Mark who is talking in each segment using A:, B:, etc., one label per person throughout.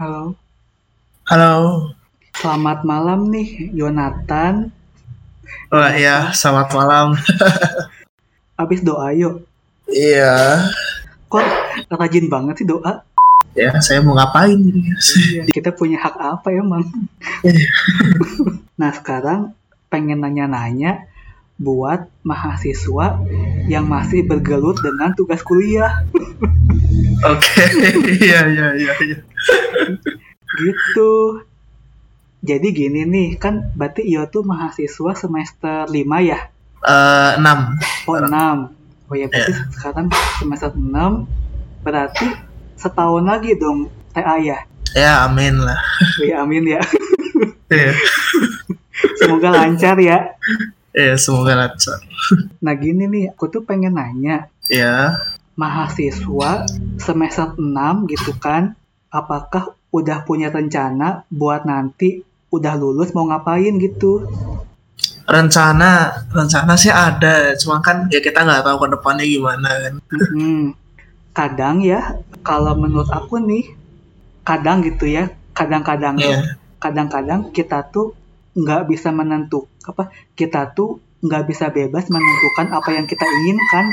A: Halo,
B: Halo.
A: selamat malam nih Yonatan.
B: Wah, ya, selamat malam.
A: Abis doa yuk.
B: Iya,
A: Kok rajin banget sih doa?
B: ya, saya mau ngapain ini?
A: Iya. Kita punya hak apa emang? nah sekarang pengen nanya-nanya buat mahasiswa yang masih bergelut dengan tugas kuliah
B: Oke, iya, iya, iya, iya.
A: gitu. Jadi gini nih, kan berarti Iyo tuh mahasiswa semester 5 ya?
B: Eh, enam.
A: Oh, 6. Oh ya, berarti sekarang semester 6. Berarti setahun lagi dong TA ya?
B: Ya, amin lah.
A: Oh ya, amin ya.
B: Iya,
A: Semoga lancar ya.
B: iya, semoga lancar.
A: Nah, gini nih, aku tuh pengen nanya.
B: Ya,
A: Mahasiswa semester 6 gitu kan, apakah udah punya rencana buat nanti udah lulus mau ngapain gitu?
B: rencana, rencana sih ada. Cuma kan ya kita nggak tahu ke depannya gimana kan.
A: Hmm, kadang ya, kalau menurut aku nih, kadang gitu ya, kadang-kadang
B: Iya,
A: kadang-kadang kita tuh nggak bisa menentukan apa kita tuh nggak bisa bebas menentukan apa yang kita inginkan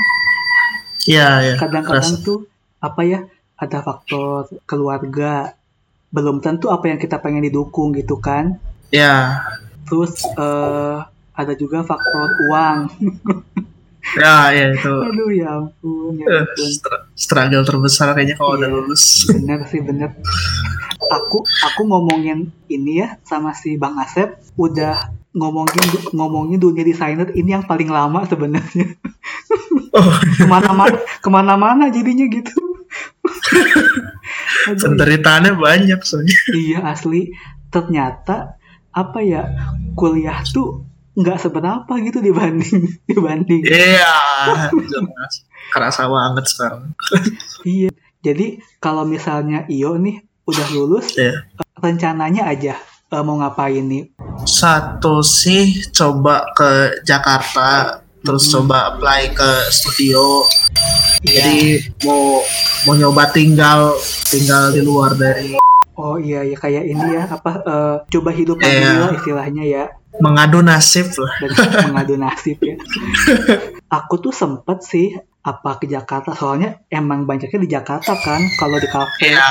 B: iya, iya.
A: kadang-kadang
B: Terus,
A: tuh apa ya ada faktor keluarga belum tentu apa yang kita pengen didukung gitu kan
B: Iya,
A: terus eh, ada juga faktor uang
B: ya, ya itu
A: aduh ya ampun ya
B: eh,
A: ampun
B: stra- struggle terbesar kayaknya kalau udah
A: Iya.
B: lulus.
A: bener sih bener aku aku ngomongin ini ya sama si bang Asep udah ngomongin ngomongin dunia desainer ini yang paling lama sebenarnya
B: Oh,
A: kemana-mana kemana-mana jadinya gitu Aduh, ya
B: penderitaannya banyak soalnya.
A: iya asli ternyata apa ya kuliah tuh nggak seberapa gitu dibanding dibanding
B: Iya, jelas. Kerasa banget sekarang.
A: iya jadi kalau misalnya Iyo nih udah lulus
B: Iya.
A: rencananya aja eh, mau ngapain nih
B: satu sih coba ke Jakarta terus
A: Mhm.
B: coba apply ke studio
A: Iya.
B: jadi mau mau nyoba tinggal tinggal di luar dari
A: oh iya ya kayak ini ya apa eh, coba hidup
B: Iya.
A: mandiri lah istilahnya ya
B: mengadu nasib lah
A: dan mengadu nasib ya. Aku tuh sempet sih apa ke Jakarta soalnya emang banyaknya di Jakarta kan kalau di kafe.
B: iya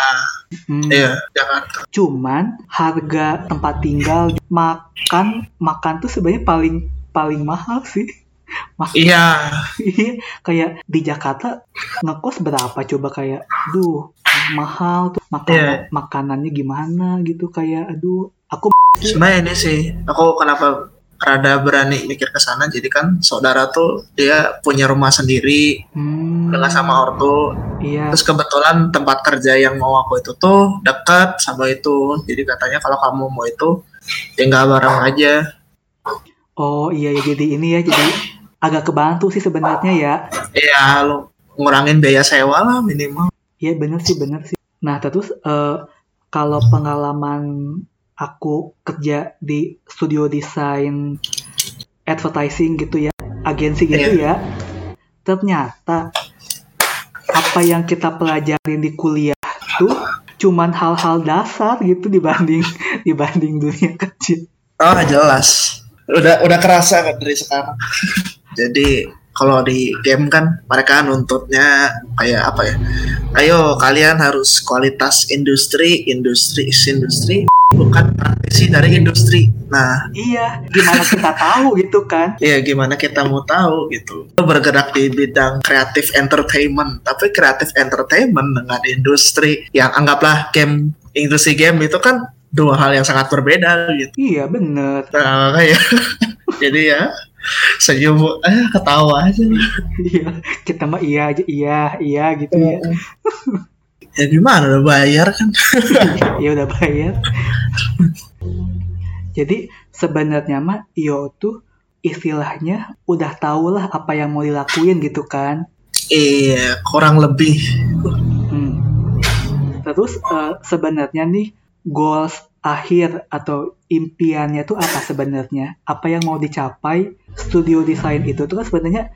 A: Hmm,
B: iya Jakarta
A: Cuman harga tempat tinggal makan makan tuh sebenarnya paling paling mahal sih.
B: iya
A: Iya, kayak di Jakarta ngekos berapa coba kayak duh mahal tuh makanan makanannya gimana gitu kayak aduh aku
B: sebenarnya ini sih aku kenapa rada berani mikir ke sana jadi kan saudara tuh dia punya rumah sendiri
A: hmm,
B: dengan sama ortu
A: iya
B: Terus kebetulan tempat kerja yang mau aku itu tuh dekat sama itu. Jadi katanya kalau kamu mau itu tinggal bareng aja.
A: Oh iya ya jadi ini ya jadi agak kebantu sih sebenarnya ya.
B: Iya, lu ngurangin biaya sewa lah minimal.
A: Iya bener sih bener sih. Nah terus eh, kalau pengalaman aku kerja di studio desain advertising gitu ya, agensi gitu ya, ternyata apa yang kita pelajarin di kuliah tuh cuman hal-hal dasar gitu dibanding dibanding dunia kerja.
B: Oh, jelas. Udah udah kerasa kan dari sekarang. Jadi kalau di game kan mereka nuntutnya kayak apa ya? Ayo kalian harus kualitas industri, industri, industri bukan praktisi dari industri. Nah,
A: Iya, gimana kita tahu gitu kan?
B: Ya gimana kita mau tahu gitu. Lo bergerak di bidang kreatif entertainment, tapi kreatif entertainment dengan industri yang anggaplah game industri game itu kan dua hal yang sangat berbeda gitu.
A: Iya bener.
B: Nah, makanya jadi ya senyum eh ketawa aja.
A: Iya, kita mah iya aja, iya, iya gitu ya.
B: Ya gimana udah bayar kan?
A: Ya udah bayar. Jadi sebenarnya mah Iyo tuh istilahnya udah tau lah apa yang mau dilakuin gitu kan.
B: Iya, kurang lebih.
A: Hmm. Terus eh, sebenarnya nih goals akhir atau impiannya tuh apa sebenarnya? Apa yang mau dicapai studio desain itu tuh kan sebenarnya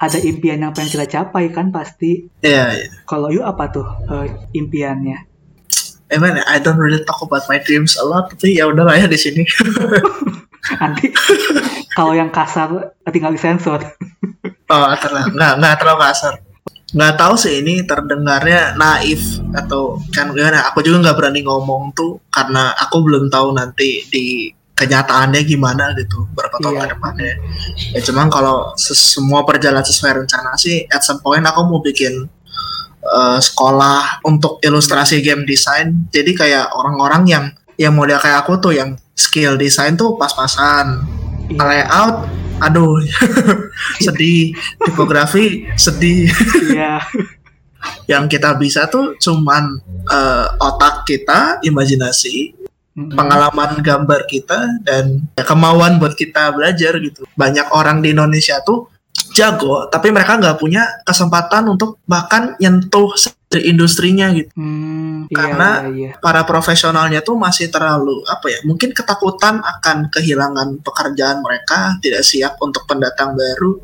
A: ada impian yang pengen kita capai kan pasti.
B: Iya, iya.
A: Kalau Iyo apa tuh eh, impiannya?
B: I mean, I don't really talk about my dreams a lot, tapi ya udah lah ya di sini.
A: Nanti kalau yang kasar tinggal disensor.
B: oh, terlah. Nggak, nggak terlalu kasar. Nggak tahu sih ini terdengarnya naif atau kan gimana. Aku juga nggak berani ngomong tuh karena aku belum tahu nanti di kenyataannya gimana gitu berapa tahun
A: Iya.
B: ke depannya. Ya cuman kalau ses- semua berjalan sesuai rencana sih, at some point aku mau bikin eh, sekolah untuk ilustrasi game design. Jadi kayak orang-orang yang yang model kayak aku tuh yang skill design tuh pas-pasan.
A: Iya.
B: Layout, aduh sedih. Tipografi sedih
A: Iya.
B: yang kita bisa tuh cuman eh, otak kita, imajinasi,
A: Mm-mm.
B: pengalaman gambar kita dan ya, kemauan buat kita belajar gitu. Banyak orang di Indonesia tuh jago, tapi mereka nggak punya kesempatan untuk bahkan nyentuh se- industrinya gitu.
A: Hmm, iya,
B: Karena-
A: iya, iya.
B: Para profesionalnya tuh masih terlalu apa ya? Mungkin ketakutan akan kehilangan pekerjaan mereka, tidak siap untuk pendatang baru,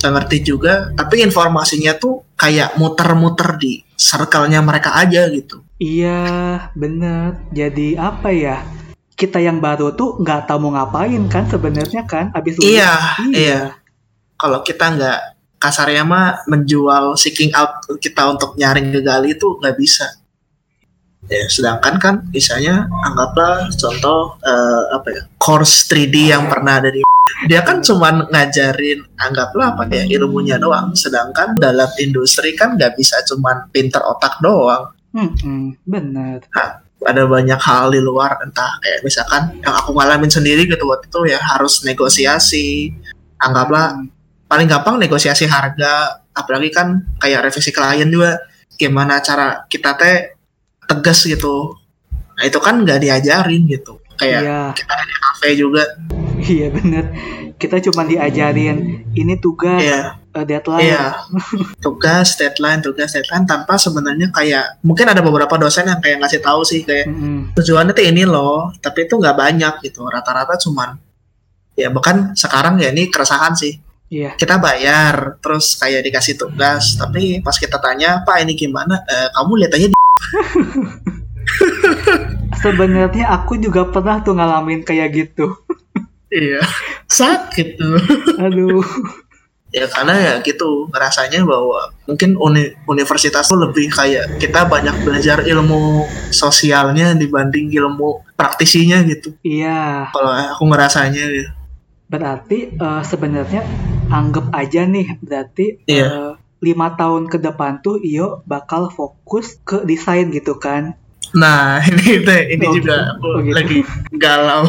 B: nggak ngerti juga. Tapi informasinya tuh kayak muter-muter di circle-nya mereka aja gitu.
A: Iya, bener. Jadi apa ya? Kita yang baru tuh nggak tahu mau ngapain kan sebenarnya kan abis lulus.
B: Iya, iya. kalau kita nggak kasarnya mah menjual seeking out kita untuk nyaring gali itu nggak bisa. Ya, sedangkan kan misalnya anggaplah contoh eh, apa ya course 3D yang pernah ada di dia kan cuman ngajarin anggaplah apa ya ilmunya doang sedangkan dalam industri kan nggak bisa cuman pinter otak doang
A: Mm-mm, bener.
B: ada banyak hal di luar entah kayak misalkan yang aku ngalamin sendiri gitu waktu itu ya harus negosiasi anggaplah
A: Hmm,
B: paling gampang negosiasi harga apalagi kan kayak revisi klien juga gimana cara kita teh tegas gitu nah itu kan nggak diajarin gitu kayak
A: Iya,
B: kita di kafe juga
A: iya bener. Kita cuma diajarin ini tugas,
B: ya
A: eh, deadline.
B: iya tugas deadline tugas deadline tanpa sebenarnya kayak mungkin ada beberapa dosen yang kayak ngasih tahu sih kayak
A: Mm-mm.
B: tujuannya tuh ini loh tapi itu nggak banyak gitu rata-rata cuman ya bahkan sekarang ya ini keresahan sih
A: Iya.
B: kita bayar terus kayak dikasih tugas tapi pas kita tanya pak ini gimana Eh, kamu lihat aja di-
A: Sebenarnya aku juga pernah tuh ngalamin kayak gitu.
B: iya sakit tuh
A: Aduh.
B: ya karena ya gitu rasanya bahwa mungkin uni- universitas tuh lebih kayak kita banyak belajar ilmu sosialnya dibanding ilmu praktisinya gitu
A: Iya.
B: kalau aku ngerasanya gitu.
A: Berarti eh, sebenarnya anggap aja nih berarti eh,
B: Iya.
A: lima tahun ke depan tuh Iyo bakal fokus ke desain gitu kan?
B: nah ini teh ini
A: Oh,
B: juga
A: gitu.
B: aku
A: Oh, gitu.
B: lagi galau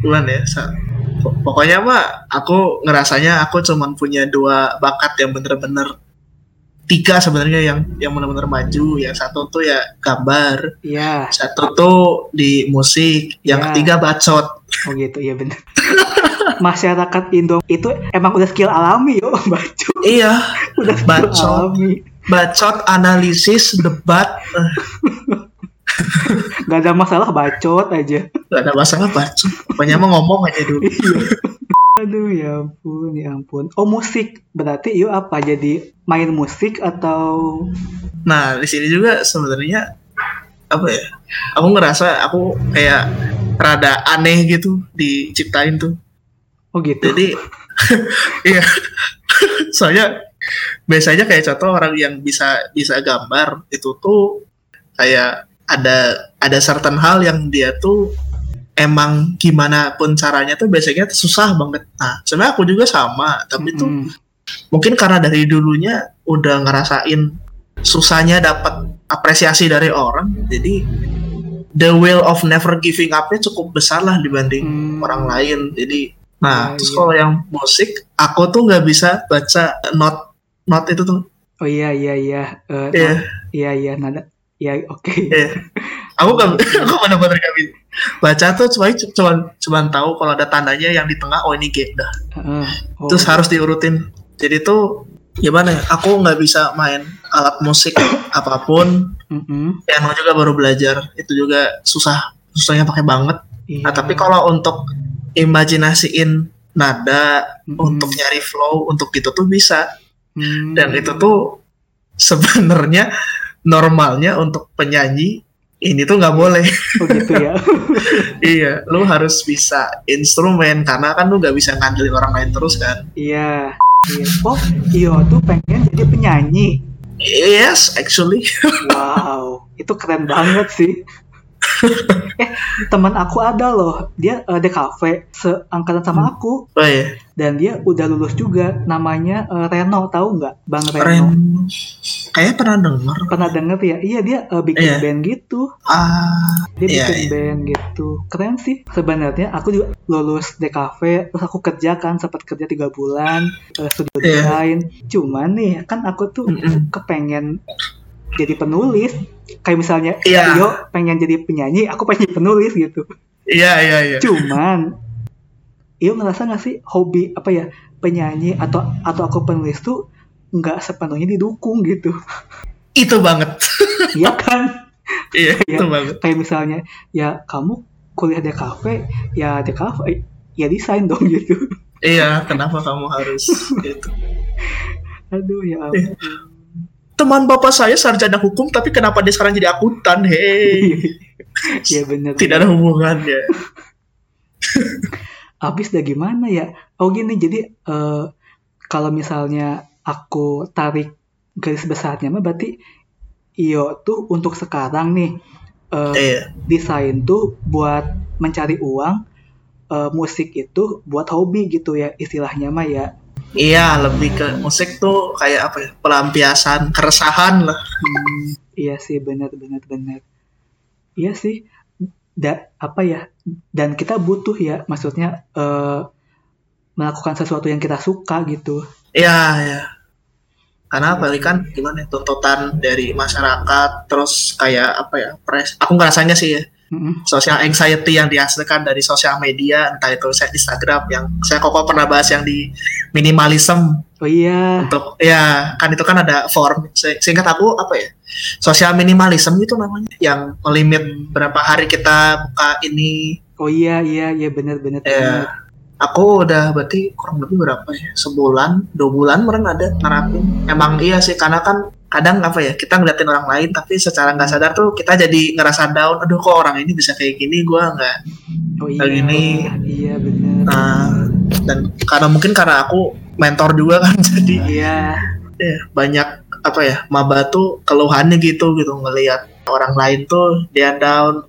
B: bulan ya Sa- Pok- pokoknya mah aku ngerasanya aku cuman punya dua bakat yang bener-bener tiga sebenarnya yang yang bener-bener maju yang satu tuh ya gambar
A: Iya.
B: satu tuh di musik yang
A: Ya.
B: ketiga bacot
A: Oh gitu. Iya bener. Masyarakat Indo itu emang udah skill alami yo baca
B: iya
A: udah skill
B: Bacot.
A: alami.
B: bacot analisis debat Eh,
A: Gak ada masalah bacot aja. Iya.
B: nggak ada masalah bacot pokoknya mah ngomong aja dulu
A: Aduh ya ampun ya ampun. Oh musik berarti Iyo apa? Jadi main musik atau
B: Nah, di sini juga sebenarnya apa ya? Aku ngerasa aku kayak rada aneh gitu diciptain tuh.
A: oh gitu?
B: Jadi iya. Soalnya biasanya kayak contoh orang yang bisa bisa gambar itu tuh kayak ada ada certain hal yang dia tuh emang gimana pun caranya tuh biasanya tuh susah banget. Nah, sebenarnya aku juga sama, tapi tuh
A: Mm-mm.
B: mungkin karena dari dulunya udah ngerasain susahnya dapat apresiasi dari orang jadi the will of never giving up-nya cukup besar lah dibanding
A: Hmm.
B: orang lain jadi
A: Ya,
B: nah terus
A: iya.
B: kalau yang musik aku tuh nggak bisa baca not not itu tuh
A: Oh iya iya iya. Eh,
B: Iya.
A: nah, Iya iya nada. Iya oke.
B: aku nggak aku benar-benar nggak bisa baca tuh cuma cuma cuma tahu kalau ada tandanya yang di tengah oh ini G dah
A: Heeh. Oh,
B: terus harus diurutin jadi tuh gimana ya aku nggak bisa main alat musik apapun
A: mm-mm.
B: piano juga baru belajar itu juga susah susahnya pakai banget
A: Iya.
B: nah tapi kalau untuk imajinasiin nada
A: Mm-mm.
B: untuk nyari flow untuk gitu tuh bisa
A: Hmm.
B: dan itu tuh sebenarnya normalnya untuk penyanyi ini tuh nggak boleh.
A: Oh gitu ya.
B: iya, lu harus bisa instrumen karena kan lu nggak bisa ngandelin orang lain terus kan.
A: Iya. Iya. Oh, Iyo tuh pengen jadi penyanyi.
B: Yes, actually.
A: Wow, itu keren banget sih. eh, teman aku ada loh, dia uh, DKV seangkatan sama aku
B: Oh iya.
A: dan dia udah lulus juga. Namanya uh, Reno, tahu nggak? Bang Reno.
B: Ren. Kayaknya pernah denger.
A: Pernah denger ya? Iya, dia uh, bikin
B: Iya.
A: band gitu.
B: Ah,
A: Dia
B: iya,
A: bikin
B: iya.
A: band gitu. Keren sih. Sebenarnya aku juga lulus DKV, terus aku kerja kan, sempat kerja tiga bulan, eh, studio
B: Iya.
A: desain. Cuman nih, kan aku tuh
B: Mm-mm.
A: kepengen jadi penulis. Kayak misalnya,
B: Iya.
A: Tio pengen jadi penyanyi, aku pengen jadi penulis gitu.
B: Iya, iya, iya.
A: Cuman, Iyo ngerasa gak sih hobi apa ya penyanyi atau atau aku penulis tuh nggak sepenuhnya didukung gitu,
B: Itu banget.
A: ya kan?
B: Iya,
A: Iya.
B: itu banget.
A: kayak misalnya ya kamu kuliah di kafe ya di kafe ya desain dong gitu
B: Iya, kenapa kamu harus gitu?
A: aduh ya ampun.
B: Teman bapak saya sarjana hukum, tapi kenapa dia sekarang jadi akuntan? Hei,
A: ya bener
B: tidak ada hubungannya.
A: abis dah gimana ya oh gini jadi eh, kalau misalnya aku tarik garis besarnya mah berarti iyo tuh untuk sekarang nih eh,
B: Iya,
A: desain tuh buat mencari uang eh, musik itu buat hobi gitu ya istilahnya mah ya
B: iya lebih ke musik tuh kayak apa ya? Pelampiasan keresahan lah.
A: Hmm, iya sih benar benar benar. Iya sih. Da, apa ya? Dan kita butuh ya, maksudnya eh, melakukan sesuatu yang kita suka gitu.
B: Iya, iya. Karena apalagi kan gimana ya, tuntutan dari masyarakat, terus kayak apa ya? Pres, aku ngerasanya sih ya,
A: Mm-mm.
B: social anxiety yang dihasilkan dari sosial media, entah itu saya Instagram yang saya kok pernah bahas yang di minimalism
A: Oh iya,
B: untuk ya kan itu kan ada form Se- seingat aku apa ya sosial minimalism itu namanya yang melimit berapa hari kita buka ini
A: oh iya iya iya benar benar.
B: ya aku udah berarti kurang lebih berapa ya sebulan dua bulan meren ada nerapin emang iya sih karena kan kadang apa ya kita ngeliatin orang lain tapi secara nggak sadar tuh kita jadi ngerasa down aduh kok orang ini bisa kayak gini gua nggak
A: benar. Oh iya.
B: Lagi nih.
A: Iya benar.
B: Nah, dan karena mungkin karena aku mentor juga kan jadi
A: Iya.
B: ya, banyak apa ya maba tuh keluhannya gitu gitu ngelihat orang lain tuh dia down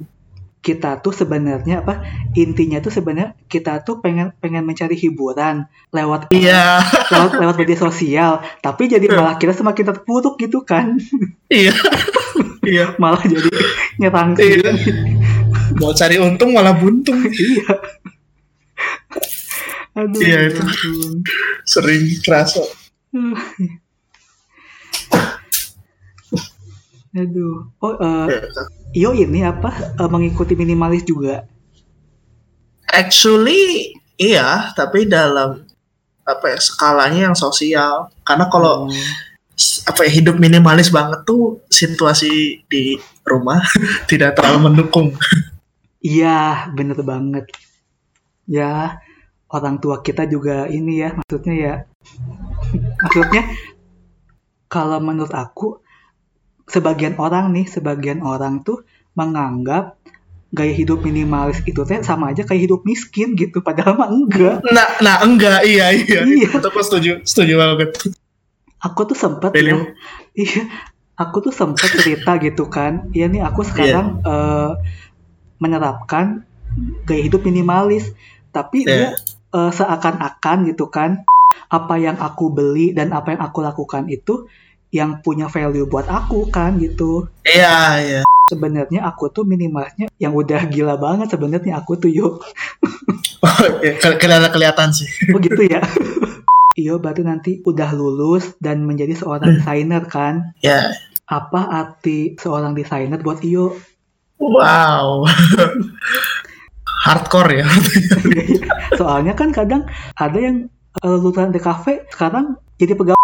A: Kita tuh sebenarnya apa? Intinya tuh sebenarnya kita tuh pengen pengen mencari hiburan lewat
B: iya
A: lewat lewat media sosial, tapi jadi malah kita semakin terpuruk gitu kan.
B: iya iya
A: malah jadi nyerang
B: iya
A: sendiri.
B: mau cari untung malah buntung
A: iya aduh
B: Iya,
A: ya
B: itu.
A: ampun.
B: sering kerasa
A: Uh. aduh oh eh,
B: Iya.
A: Iyo ini apa eh, mengikuti minimalis juga
B: actually iya tapi dalam apa ya skalanya yang sosial karena kalau
A: Oh,
B: s- apa ya, hidup minimalis banget tuh situasi di rumah tidak terlalu mendukung
A: iya bener banget ya orang tua kita juga ini ya maksudnya ya maksudnya kalau menurut aku sebagian orang nih sebagian orang tuh menganggap gaya hidup minimalis itu teh sama aja kayak hidup miskin gitu padahal mah enggak
B: nah nah enggak iya iya,
A: Iya.
B: Itu aku setuju setuju banget
A: aku tuh sempet
B: Really?
A: ya iya aku tuh sempet cerita gitu kan iya nih aku sekarang eh, menerapkan gaya hidup minimalis tapi dia eh,
B: Iya.
A: seakan-akan gitu kan apa yang aku beli dan apa yang aku lakukan itu yang punya value buat aku kan gitu
B: iya iya
A: sebenarnya aku tuh minimalnya yang udah gila banget sebenarnya aku tuh yuk
B: kelihatan kelihatan sih.
A: Oh gitu ya. Iyo berarti nanti udah lulus dan menjadi seorang desainer kan?
B: Ya.
A: Apa arti seorang desainer buat Iyo?
B: Wow. Hardcore ya.
A: Soalnya kan kadang ada yang eh, lulusan DKV sekarang jadi pegawai.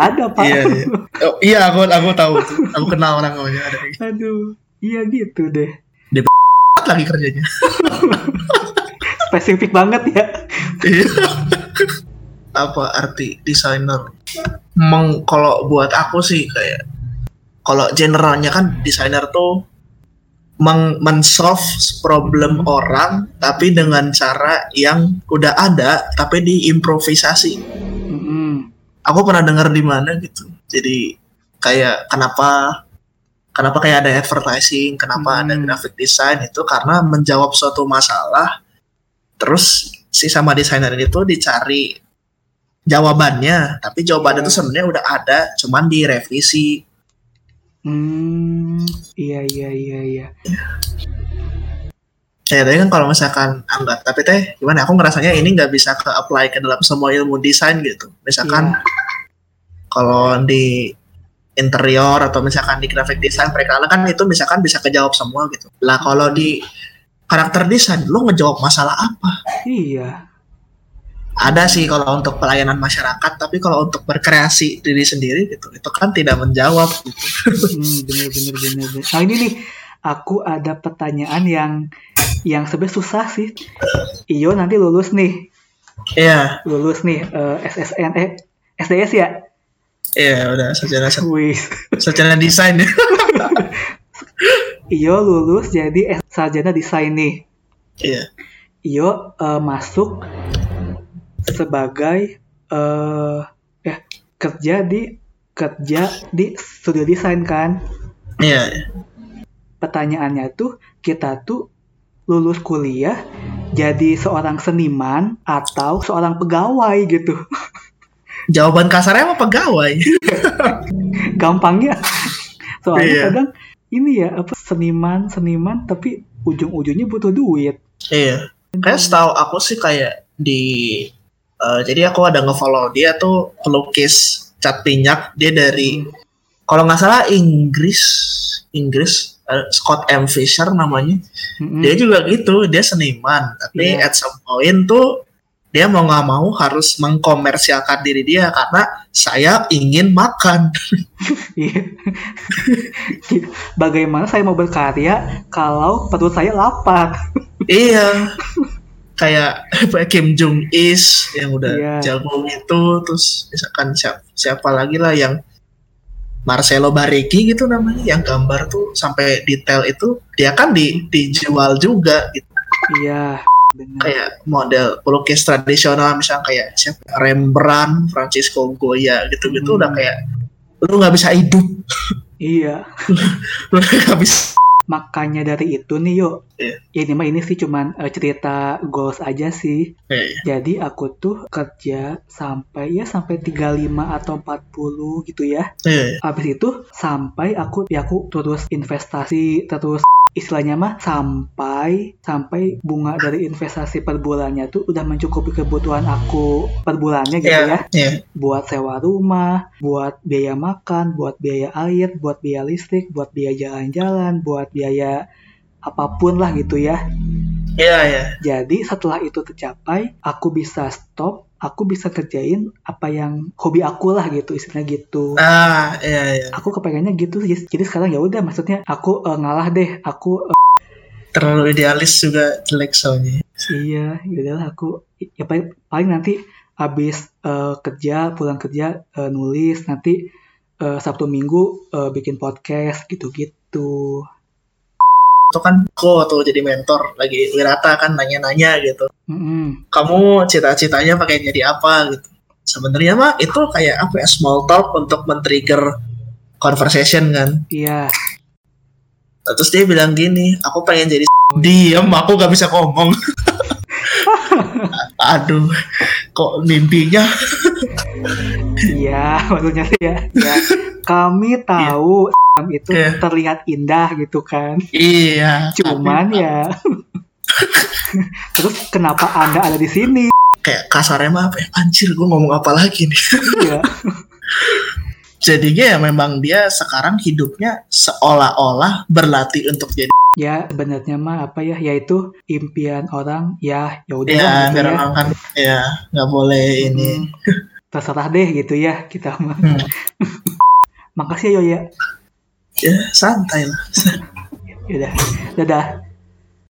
A: ada pak.
B: Iya, iya. Oh, iya aku aku tahu. tuh. Aku kenal orang namanya ada yang
A: Aduh. Iya gitu deh.
B: lagi kerjanya.
A: Spesifik banget ya.
B: Iya. Apa arti desainer? Meng, kalau buat aku sih kayak kalau generalnya kan desainer tuh meng men-solve problem orang tapi dengan cara yang udah ada tapi diimprovisasi.
A: Mm-mm.
B: Aku pernah dengar di mana gitu. Jadi kayak kenapa kenapa kayak ada advertising, kenapa ada
A: Hmm.
B: graphic design itu karena menjawab suatu masalah terus si sama desainer itu dicari jawabannya, tapi jawabannya
A: Iya.
B: itu sebenarnya udah ada, cuman direvisi.
A: Hmm, iya iya iya iya.
B: Ya, tapi kan kalau misalkan anggap, tapi teh gimana? Aku ngerasanya ini nggak bisa ke apply ke dalam semua ilmu desain gitu. Misalkan kalau di interior atau misalkan di graphic design, perikanan kan itu misalkan bisa kejawab semua gitu. Lah kalau di karakter desain, lu ngejawab masalah apa?
A: Iya.
B: Ada sih kalau untuk pelayanan masyarakat, tapi kalau untuk berkreasi diri sendiri gitu, itu kan tidak menjawab. Gitu.
A: Hmm, bener bener bener bener. Nah ini nih, aku ada pertanyaan yang yang sebenarnya susah sih. Iyo nanti lulus nih,
B: Iya,
A: lulus nih eh, SSN eh SDS ya.
B: iya udah sarjana
A: Wih.
B: sarjana desain ya.
A: Iyo lulus jadi S- sarjana desain nih.
B: Iya.
A: Iyo eh, masuk sebagai eh eh, kerja di kerja di studio desain kan.
B: Iya,
A: pertanyaannya tuh kita tuh lulus kuliah jadi seorang seniman atau seorang pegawai gitu.
B: jawaban kasarnya apa pegawai?
A: Gampangnya soalnya
B: Iya.
A: kadang ini ya apa seniman seniman tapi ujung-ujungnya butuh duit.
B: Iya. Kayak setahu aku sih kayak di eh, jadi aku ada ngefollow dia tuh pelukis cat minyak dia dari
A: Hmm.
B: kalau nggak salah Inggris Inggris eh, Scott M Fisher namanya
A: Mm-mm.
B: dia juga gitu dia seniman tapi
A: Hmm. Iya.
B: at some point tuh dia mau nggak mau harus mengkomersialkan diri dia karena saya ingin makan
A: Iya. Bagaimana saya mau berkarya kalau perut saya lapar?
B: Iya. Kayak Kim Jong Is yang udah
A: Iya.
B: jago gitu, terus misalkan siapa, siapa lagi lah yang Marcelo Bariki gitu namanya, yang gambar tuh sampai detail itu dia kan di, dijual juga gitu.
A: Iya, benar.
B: Kayak model pelukis tradisional misalnya kayak siapa Rembrandt, Francisco Goya gitu-gitu
A: Hmm.
B: udah kayak lu nggak bisa hidup,
A: Iya.
B: lu nggak bisa.
A: Makanya dari itu nih yuk.
B: Iya.
A: Ya, ini mah ini sih cuman eh, cerita goals aja sih.
B: Kayak,
A: Jadi aku tuh kerja sampai ya sampai 35 atau 40 gitu ya.
B: eh,
A: Habis itu sampai aku ya aku terus investasi terus istilahnya mah sampai sampai bunga dari investasi per bulannya tuh udah mencukupi kebutuhan aku per bulannya gitu ya.
B: iya, iya,
A: Buat sewa rumah, buat biaya makan, buat biaya air, buat biaya listrik, buat biaya jalan-jalan, buat biaya apapun lah gitu ya.
B: iya, iya.
A: Jadi setelah itu tercapai, aku bisa stop, aku bisa kerjain apa yang hobi aku lah gitu, istilahnya gitu.
B: Ah, iya, iya.
A: Aku kepengennya gitu sih. Jadi sekarang ya udah, maksudnya aku eh, ngalah deh, aku eh,
B: Terlalu idealis juga jelek soalnya.
A: iya, ya udahlah aku ya paling, paling nanti habis eh, kerja, pulang kerja eh, nulis, nanti eh, Sabtu Minggu eh, bikin podcast gitu-gitu.
B: itu kan kok tuh jadi mentor lagi wirata kan nanya-nanya gitu
A: Mm-mm.
B: kamu cita-citanya pakai jadi apa gitu sebenarnya mah itu kayak apa ya small talk untuk men-trigger conversation kan
A: Iya,
B: Nah, terus dia bilang gini aku pengen jadi diam aku gak bisa ngomong aduh kok mimpinya
A: iya, maksudnya sih ya. ya. Kami tahu itu
B: Iya.
A: terlihat indah gitu kan.
B: iya
A: Cuman
B: tapi
A: ya. Terus kenapa Anda ada di sini?
B: kayak kasarnya mah apa ya anjir gue ngomong apa lagi nih
A: Iya.
B: jadinya ya memang dia sekarang hidupnya seolah-olah berlatih untuk jadi
A: Ya sebenarnya mah apa ya? Yaitu impian orang ya ya udah lah
B: Ya,
A: gitu
B: biar
A: ya.
B: orang kan ya nggak boleh ini.
A: Hmm, terserah deh gitu ya kita mah.
B: Hmm.
A: Makasih ya Yoya.
B: Ya, santai lah.
A: Yaudah. Dadah.